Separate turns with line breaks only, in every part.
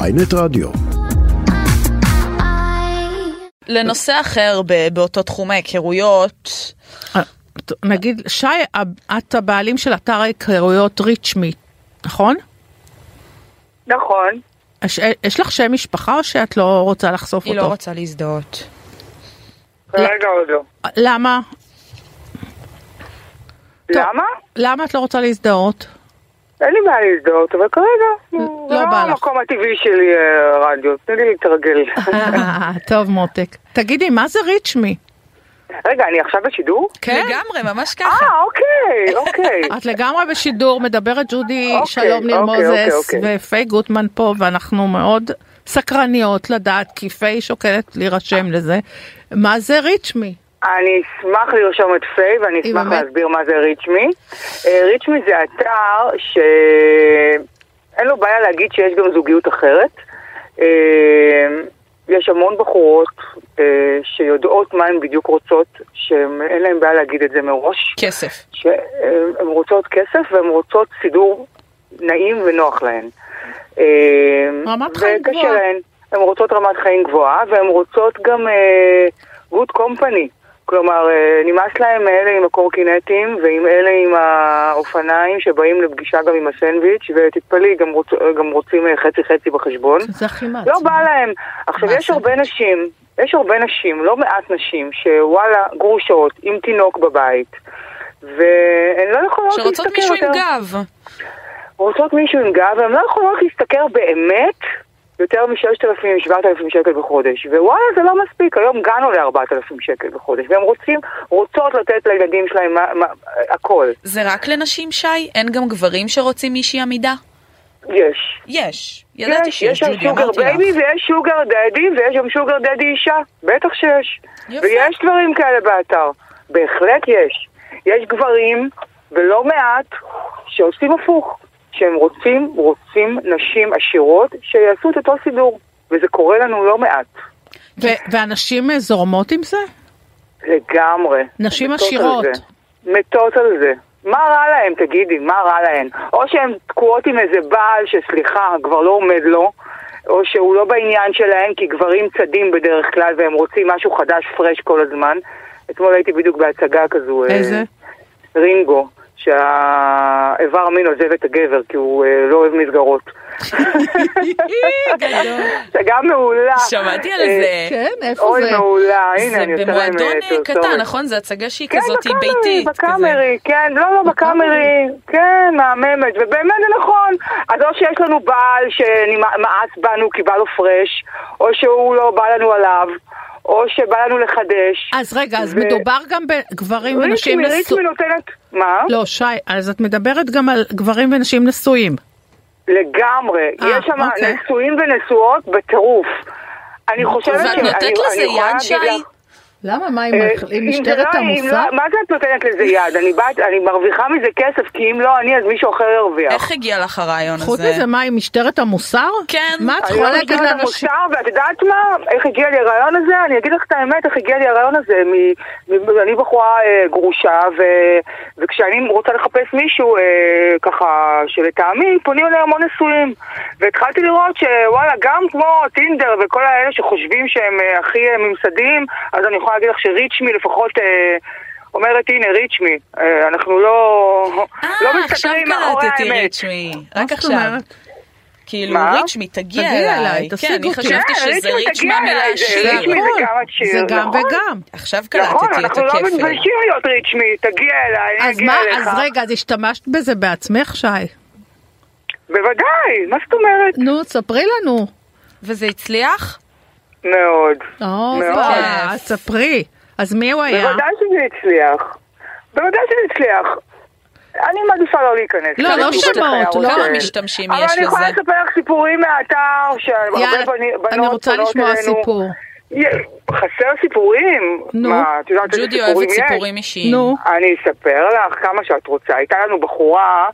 ויינט רדיו.
לנושא אחר ב- באותו תחום ההיכרויות,
נגיד, שי, את הבעלים של אתר ההיכרויות ריצ'מי, נכון?
נכון.
יש, אה, יש לך שם משפחה או שאת לא רוצה לחשוף
היא
אותו?
לא רוצה להזדהות.
כרגע עוד לא.
למה? טוב.
למה?
למה את לא רוצה להזדהות?
אין לי בעיה להזדהות, אבל כרגע,
לא
זה
בא לך.
המקום הטבעי שלי אה, רדיו, תני לי להתרגל.
אה, טוב מותק. תגידי, מה זה ריצ'מי? כן.
רגע, אני עכשיו בשידור?
לגמרי, ממש ככה.
כן? אה, אוקיי, אוקיי.
את לגמרי בשידור, מדברת ג'ודי
אוקיי,
שלום ניר
אוקיי,
מוזס
אוקיי, אוקיי.
ופיי גוטמן פה, ואנחנו מאוד סקרניות לדעת, כי פיי שוקלת להירשם לזה. מה זה ריצ'מי?
אני אשמח לרשום את פיי ואני
היא
אשמח
באמת-
להסביר מה זה ריצ'מי. אה, ריצ'מי זה אתר שאין לו בעיה להגיד שיש גם זוגיות אחרת. אה, יש המון בחורות אה, שיודעות מה הן בדיוק רוצות, שאין להן בעיה להגיד את זה מראש.
כסף.
שהן רוצות כסף והן רוצות סידור נעים ונוח להן. אה,
רמת חיים
וקשה
גבוהה.
להן. הן רוצות רמת חיים גבוהה והן רוצות גם אה, good company. כלומר, אה, נמאס להם מאלה עם הקורקינטים ועם אלה עם האופניים שבאים לפגישה גם עם הסנדוויץ' ותתפלאי, גם, רוצ, גם רוצים אה, חצי-חצי בחשבון.
זה הכי מעצבן.
לא בא להם. עכשיו,
מה
יש
זה?
הרבה נשים, יש הרבה נשים, לא מעט נשים, שוואלה, גרושות, עם תינוק בבית, והן לא יכולות להשתכר יותר.
שרוצות מישהו עם גב.
רוצות מישהו עם גב, והן לא יכולות להשתכר באמת יותר מ-6,000-7,000 שקל בחודש. ווואלה, זה לא מספיק, היום גן עולה 4,000 שקל בחודש, והן רוצים, רוצות לתת לילדים שלהם מה, מה, הכל.
זה רק לנשים, שי? אין גם גברים שרוצים מישהי עמידה?
יש.
יש. ידעתי
יש,
שיש,
יש שם
ג'ודי,
שוגר
אמרתי
בייבי
לך.
ויש שוגר דדי ויש גם שוגר דדי אישה, בטח שיש.
יפה.
ויש דברים כאלה באתר, בהחלט יש. יש גברים, ולא מעט, שעושים הפוך. שהם רוצים, רוצים נשים עשירות שיעשו את אותו סידור. וזה קורה לנו לא מעט.
ו- ואנשים אה, זורמות עם זה?
לגמרי.
נשים
מתות על
עשירות.
זה. מתות על זה. מה רע להם, תגידי, מה רע להן? או שהן תקועות עם איזה בעל שסליחה, כבר לא עומד לו, או שהוא לא בעניין שלהן כי גברים צדים בדרך כלל והם רוצים משהו חדש, פרש כל הזמן. אתמול הייתי בדיוק בהצגה כזו. אה,
איזה?
רינגו, שהאיבר מין עוזב את הגבר כי הוא אה, לא אוהב מסגרות. הצגה מעולה.
שמעתי על
אה,
זה.
כן, איפה
אוי,
זה?
מעולה, הנה,
זה
אני עושה להם...
במועדון
אה,
אה,
תרצורת.
קטן, נכון? זה הצגה שהיא
כן,
כזאת היא
בקאמרי,
ביתית. כזה. אוקיי.
בקאמרי, כן, לא, לא, בקאמרי, כן, מהממת, ובאמת זה נכון. אז או שיש לנו בעל שמאס בנו כי בא לו פרש, או שהוא לא בא לנו עליו, או שבא לנו לחדש.
אז רגע, אז
ו- לא?
מדובר גם בגברים ונשים
ריצ'מי, ריצ'מי
נשואים.
נותנת... מה?
לא, שי, אז את מדברת גם על גברים ונשים נשואים.
לגמרי.
אה,
יש שם
אוקיי.
נשואים ונשואות בטירוף. אני חושבת ש...
ואת
אני-
נותנת לזה
אני יכולה
יד,
להגיד
שי?
לך-
למה, מה, עם
אה,
הח- עם
אם זה
משטרת
לא- אם
המוסר?
לא- מה זה את נותנת לזה יד? אני באת- אני מרוויחה מזה כסף, כי אם לא אני, אז מישהו אחר ירוויח.
איך הגיע לך הרעיון
חוץ
הזה?
מזה, מה, עם משטרת המוסר?
כן.
מה את
אני לא
יכולה להגיד
מכירה את
לאנשים?
המוסר, ואת יודעת מה? איך הגיע לי הרעיון הזה? אני אגיד לך את האמת, איך הגיע לי הרעיון הזה. מ... מ... אני בחורה אה, גרושה, ו... וכשאני רוצה לחפש מישהו, אה, ככה, שלטעמי, פונים אליי המון נשואים. והתחלתי לראות שוואלה, גם כמו טינדר וכל האלה שחושבים שהם אה, הכי אה, ממסדיים, אז אני יכולה להגיד לך שריצ'מי לפחות... אה, אומרת הנה ריצ'מי, אנחנו לא, לא
אה, עכשיו
מסתכלים מאחורי
קלטתי
האמת. לא
ריצ'מי.
מה
רק
זאת
עכשיו.
אה,
אומרת?
כאילו,
מה?
ריצ'מי, תגיע
תגיע
אליי.
אליי,
כן,
תשיג
אני
אותי.
חשבתי
כן,
שזה
ריצ'מי,
ריץ'
תגיע אליי,
מהמילה
זה
שיר.
ריצ'מי.
הכל.
זה גם השיר,
זה גם
נכון?
וגם.
עכשיו
נכון,
קלטתי את
אנחנו לא
הכפל.
מתביישים להיות ריצ'מי, תגיע אליי, אני
אז
אגיע
מה,
אליך.
אז רגע, אז השתמשת בזה בעצמך, שי?
בוודאי, מה זאת אומרת?
נו, ספרי לנו.
וזה הצליח?
מאוד.
או,
מאוד.
מה, אה, אז ספרי. אז מי הוא היה?
בוודאי שזה הצליח. בוודאי שזה הצליח. אני מעדיפה לא להיכנס.
לא,
כמה
לא
משתמש
שמות,
היה רוצה.
לא.
כמה משתמשים
כן. אבל
יש
אני יכולה
לזה?
לספר לך סיפורים מהאתר, שהרבה
יאללה,
בני- בנות
אני רוצה
פונות
לשמוע
אלינו.
סיפור.
יה- חסר סיפורים?
נו.
מה, את יודעת איזה
ג'ודי
סיפורים
אוהבת
יש?
סיפורים אישיים.
נו.
אני אספר לך כמה שאת רוצה. הייתה לנו בחורה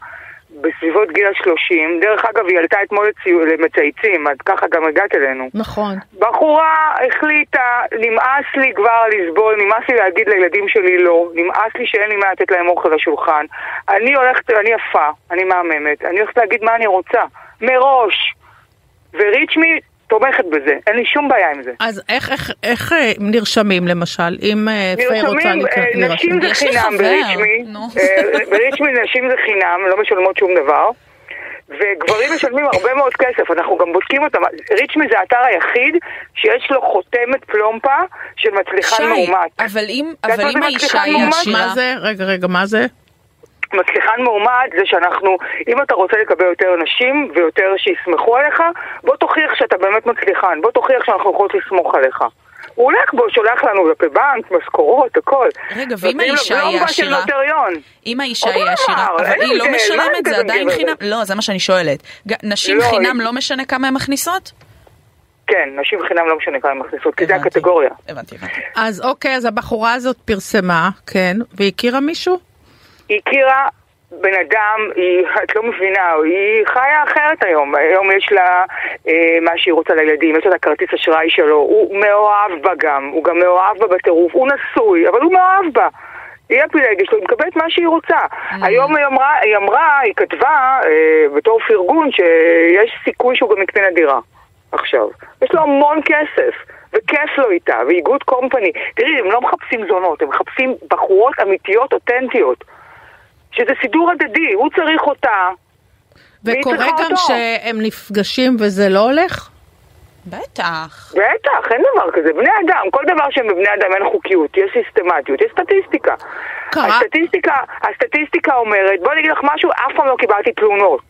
בסביבות גיל השלושים, דרך אגב היא עלתה אתמול לציו- למצייצים, אז ככה גם הגעת אלינו.
נכון.
בחורה החליטה, נמאס לי כבר לסבול, נמאס לי להגיד לילדים שלי לא, נמאס לי שאין לי מה לתת להם אוכל לשולחן. אני הולכת, אני יפה, אני מהממת, אני הולכת להגיד מה אני רוצה, מראש. וריץ' מי תומכת בזה, אין לי שום בעיה עם זה.
אז איך, איך, איך אה, נרשמים למשל, אם אה, פיי רוצה לא,
נרשמים,
להיכנס-
אה, נשים זה
יש לי
חינם
חבר.
בריצ'מי,
נו.
אה, בריצ'מי נשים זה חינם, לא משלמות שום דבר. וגברים משלמים הרבה מאוד כסף, אנחנו גם בודקים אותם. ריצ'מי זה האתר היחיד שיש לו חותמת פלומפה של מצליחן
שי,
מאומת.
אבל אם
יודעת
אבל
מה
אם
זה
האישה
מצליחן
היא
מאומת?
עשירה,
מה זה? רגע, רגע, מה זה?
מצליחן מאומת זה שאנחנו, אם אתה רוצה לקבל יותר נשים ויותר שיסמכו עליך, בוא תוכיח שאתה באמת מצליחן, בוא תוכיח שאנחנו יכולות לסמוך עליך. הוא הולך בו, שולח לנו דפי בנק, משכורות, הכל.
רגע, ואם
נותנים
האישה
לו בלומבה
היא
של
עשירה?
נוטריון.
אם האישה
אותו
היא עשירה,
דבר,
אבל
אין
היא לא
הבדל, מה
משלמת,
ההבדל
זה
בין
עדיין
גבר
חינם, לא, זה מה שאני שואלת. ג- נשים
לא,
חינם
היא-
לא משנה כמה הן מכניסות?
כן, נשים חינם לא משנה כמה הן מכניסות, כי זה
הבנתי.
הקטגוריה.
הבנתי, הבנתי.
אז אוקיי, אז הבחורה הזאת פרסמה, כן, והכירה מישהו?
היא הכירה בן אדם, היא, את לא מבינה, היא חיה אחרת היום. היום יש לה אה, מה שהיא רוצה לילדים, יש לה את הכרטיס אשראי שלו, הוא מאוהב בה גם, הוא גם מאוהב בה בטירוף, הוא נשוי, אבל הוא מאוהב בה. היא הפילגש שלו, היא מקבלת מה שהיא רוצה. היום היא אמרה, היא אמרה, היא כתבה אה, בתור פרגון שיש סיכוי שהוא גם יקנה לה דירה. עכשיו. יש לו המון כסף, וכיף לו איתה, והיא גוד קומפני. תראי, הם לא מחפשים זונות, הם מחפשים בחורות אמיתיות, אותנטיות. שזה סידור הדדי, הוא צריך אותה. והיא
וקורה
צריכה
גם
אותו.
שהם נפגשים וזה לא הולך?
בטח.
בטח, אין דבר כזה. בני אדם, כל דבר שהם בבני אדם אין חוקיות, יש סיסטמטיות, יש סטטיסטיקה.
קרה.
הסטטיסטיקה, הסטטיסטיקה אומרת, בואי אני אגיד לך משהו, אף פעם לא קיבלתי תלונות.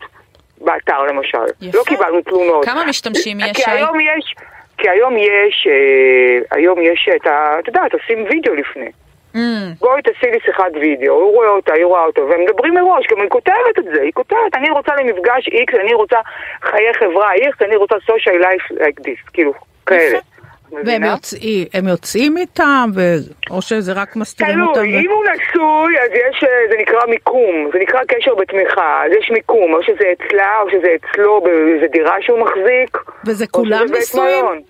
באתר למשל.
יפה.
לא קיבלנו תלונות.
כמה משתמשים יש,
כי
שי?
היום יש, כי היום יש, אה, היום יש את ה... את יודעת, עושים וידאו לפני.
אמ,
בואי תעשי לי שיחת וידאו, הוא רואה אותה, היא רואה אותו, והם מדברים מראש, גם היא כותבת את זה, היא כותבת, אני רוצה למפגש X, אני רוצה חיי חברה X, אני רוצה social life like this, כאילו, כאלה.
והם
מבינה?
יוצאים, הם יוצאים איתם, ו- או שזה רק מסתירים אותם?
תלוי, כאילו, אם
ו-
הוא נשוי, אז יש, אה, זה נקרא מיקום, זה נקרא קשר בתמיכה, אז יש מיקום, או שזה אצלה, או שזה אצלו, באיזה דירה שהוא מחזיק.
וזה
או
כולם
שזה אוקיי, בית
נשואים?
מלון.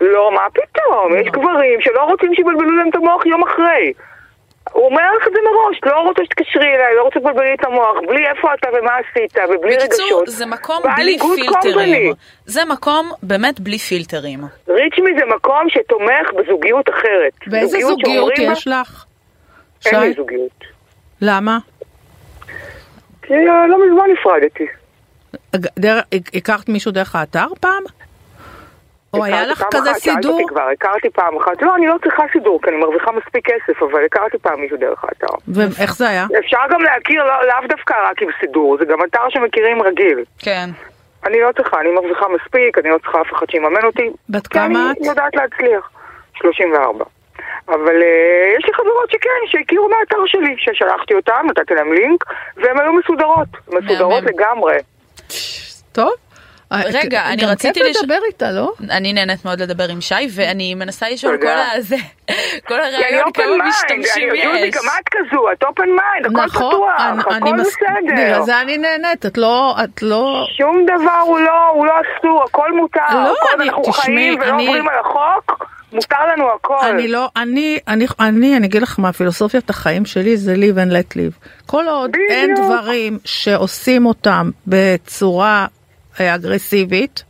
לא, מה פתאום? יש גברים שלא רוצים שיבלבלו להם את המוח יום אחרי. הוא אומר לך את זה מראש, לא רוצה שתתקשרי אליי, לא רוצה לבלבל לי את המוח, בלי איפה אתה ומה עשית ובלי רגשות.
בקיצור, זה מקום
ואני
בלי
good
פילטרים.
company.
זה מקום באמת בלי פילטרים.
ריצ'מי זה מקום שתומך בזוגיות אחרת.
ואיזה
כאילו,
זוגיות
שאומרים בה-
יש לך? שי,
אין לי זוגיות.
למה?
כי אה, לא מזמן נפרדתי.
אג- דר- הכ- הכרת מישהו דרך האתר פעם? או היה
הכרתי
לך
פעם
כזה
אחת, שאלת
סידור?
אותי כבר, הכרתי פעם אחת. לא, אני לא צריכה סידור, כי אני מרוויחה מספיק כסף, אבל הכרתי פעם מישהו דרך האתר.
ואיך זה היה?
אפשר גם להכיר לא- לאו דווקא רק עם סידור, זה גם אתר שמכירים רגיל.
כן.
אני לא צריכה, אני מרוויחה מספיק, אני לא צריכה אף אחד שיממן אותי.
בת
כי
כמה
אני
את?
יודעת להצליח. 34. אבל uh, יש לי חברות שכן, שהכירו מהאתר שלי, ששלחתי אותן, נתתי להם לינק, והן היו מסודרות. מסודרות
מהמם.
לגמרי.
טוב. אה,
רגע,
גם
אני
כיף
רציתי לש-
לדבר איתה, לא?
אני נהנית מאוד לדבר עם שי, ואני מנסה לשאול כל
תודה.
הזה, כל
כי אני
הרעיון
אופן
כמה
מיינד,
משתמשים
אני יודעת,
יש.
גם את כזו, את אופן מיינד, הכל פתוח,
נכון, אני- אני
הכל
מס-
בסדר.
בגלל זה אני לא- נהנית, את לא, את לא,
שום דבר הוא לא, הוא לא אסור, הכל מותר.
לא,
כל עוד
אני-
אנחנו
תשמעי,
חיים ולא
אני-
עוברים על החוק, מותר לנו הכל.
אני לא, אני, אני, אני, אני אגיד לך מה, פילוסופיית החיים שלי זה live and let live. כל עוד
בדיוק.
אין דברים שעושים אותם בצורה אה, אגרסיבית,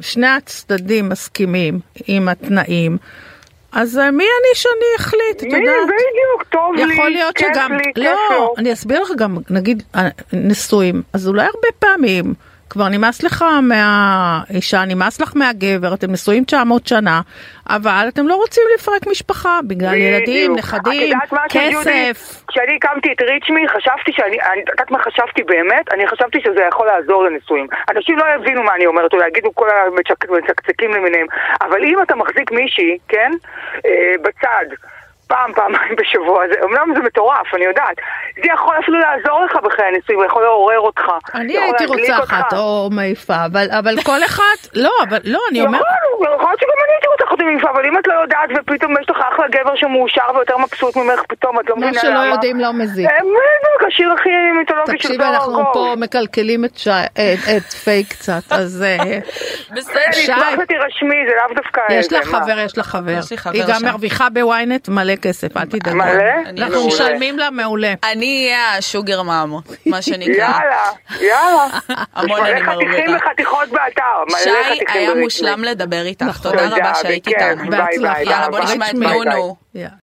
שני הצדדים מסכימים עם התנאים, אז אה, מי אני שאני אחליט, את
מי,
יודעת?
בדיוק, טוב לי,
יכול להיות
כיף
שגם,
לי, כן, כיף
לא,
לו.
אני אסביר לך גם, נגיד אה, נשואים, אז אולי הרבה פעמים כבר נמאס לך מהאישה, נמאס לך מהגבר, אתם נשואים 900 שנה, אבל אתם לא רוצים לפרק משפחה בגלל ילדים,
בדיוק. את
נכדים,
יודעת מה, ג'ודי?
כסף.
כשאני הקמתי את ריצ'מי, חשבתי שאני, אני- את יודעת מה חשבתי באמת? אני חשבתי שזה יכול לעזור לנישואים. אנשים לא יבינו מה אני אומרת, או יגידו כל המצקצקים למיניהם. אבל אם אתה מחזיק מישהי, כן? אה, בצד. פעם, פעמיים בשבוע, זה, אמנם זה מטורף, אני יודעת. זה יכול אפילו לעזור לך בחיי הנישואים, יכול לעורר אותך.
אני
יכול
הייתי
להדליק
רוצה
אותך.
אחת או מעיפה, אבל, אבל כל אחת, לא, אבל לא, אני
יכול,
אומרת,
יכול להיות שגם אני הייתי רוצה חוטים יפה, אבל אם את לא יודעת ופתאום יש לך אחלה גבר שמאושר ויותר מבסוט ממך פתאום, את לא
מה
מבינה
שלא
למה.
יודעים לא מזיק.
אה, בדיוק, השיר הכי מיתולוגי של
תקשיבי,
זוהר
אנחנו
גור.
פה מקלקלים את, שי, את, את פיי קצת, אז אה,
בסדר.
שי.
שי. אני אשמח שתירשמי, זה לאו דווקא...
יש
זה,
לך
מה?
חבר, יש לך חבר.
יש לי חבר
היא גם
שם.
מרוויחה בוויינט מלא כסף, אל תדאג.
מלא?
אני- לא
אנחנו
מעולה.
משלמים לה מעולה.
אני אהיה השוגר מאם, מה שנקרא.
יאללה, יאללה.
המון
יש
אני
מלא חתיכים
מרוויחה.
וחתיכות באתר. מלא
שי
חתיכים
היה
ברצמי.
מושלם לדבר איתך,
נכון.
תודה
תודה,
רבה שהיית
בכיף.
איתנו.
ביי, ביי,
בהצלחה.
ביי,
יאללה, בוא
ביי,
נשמע את
ביי, ביי.
נונו.
Yeah.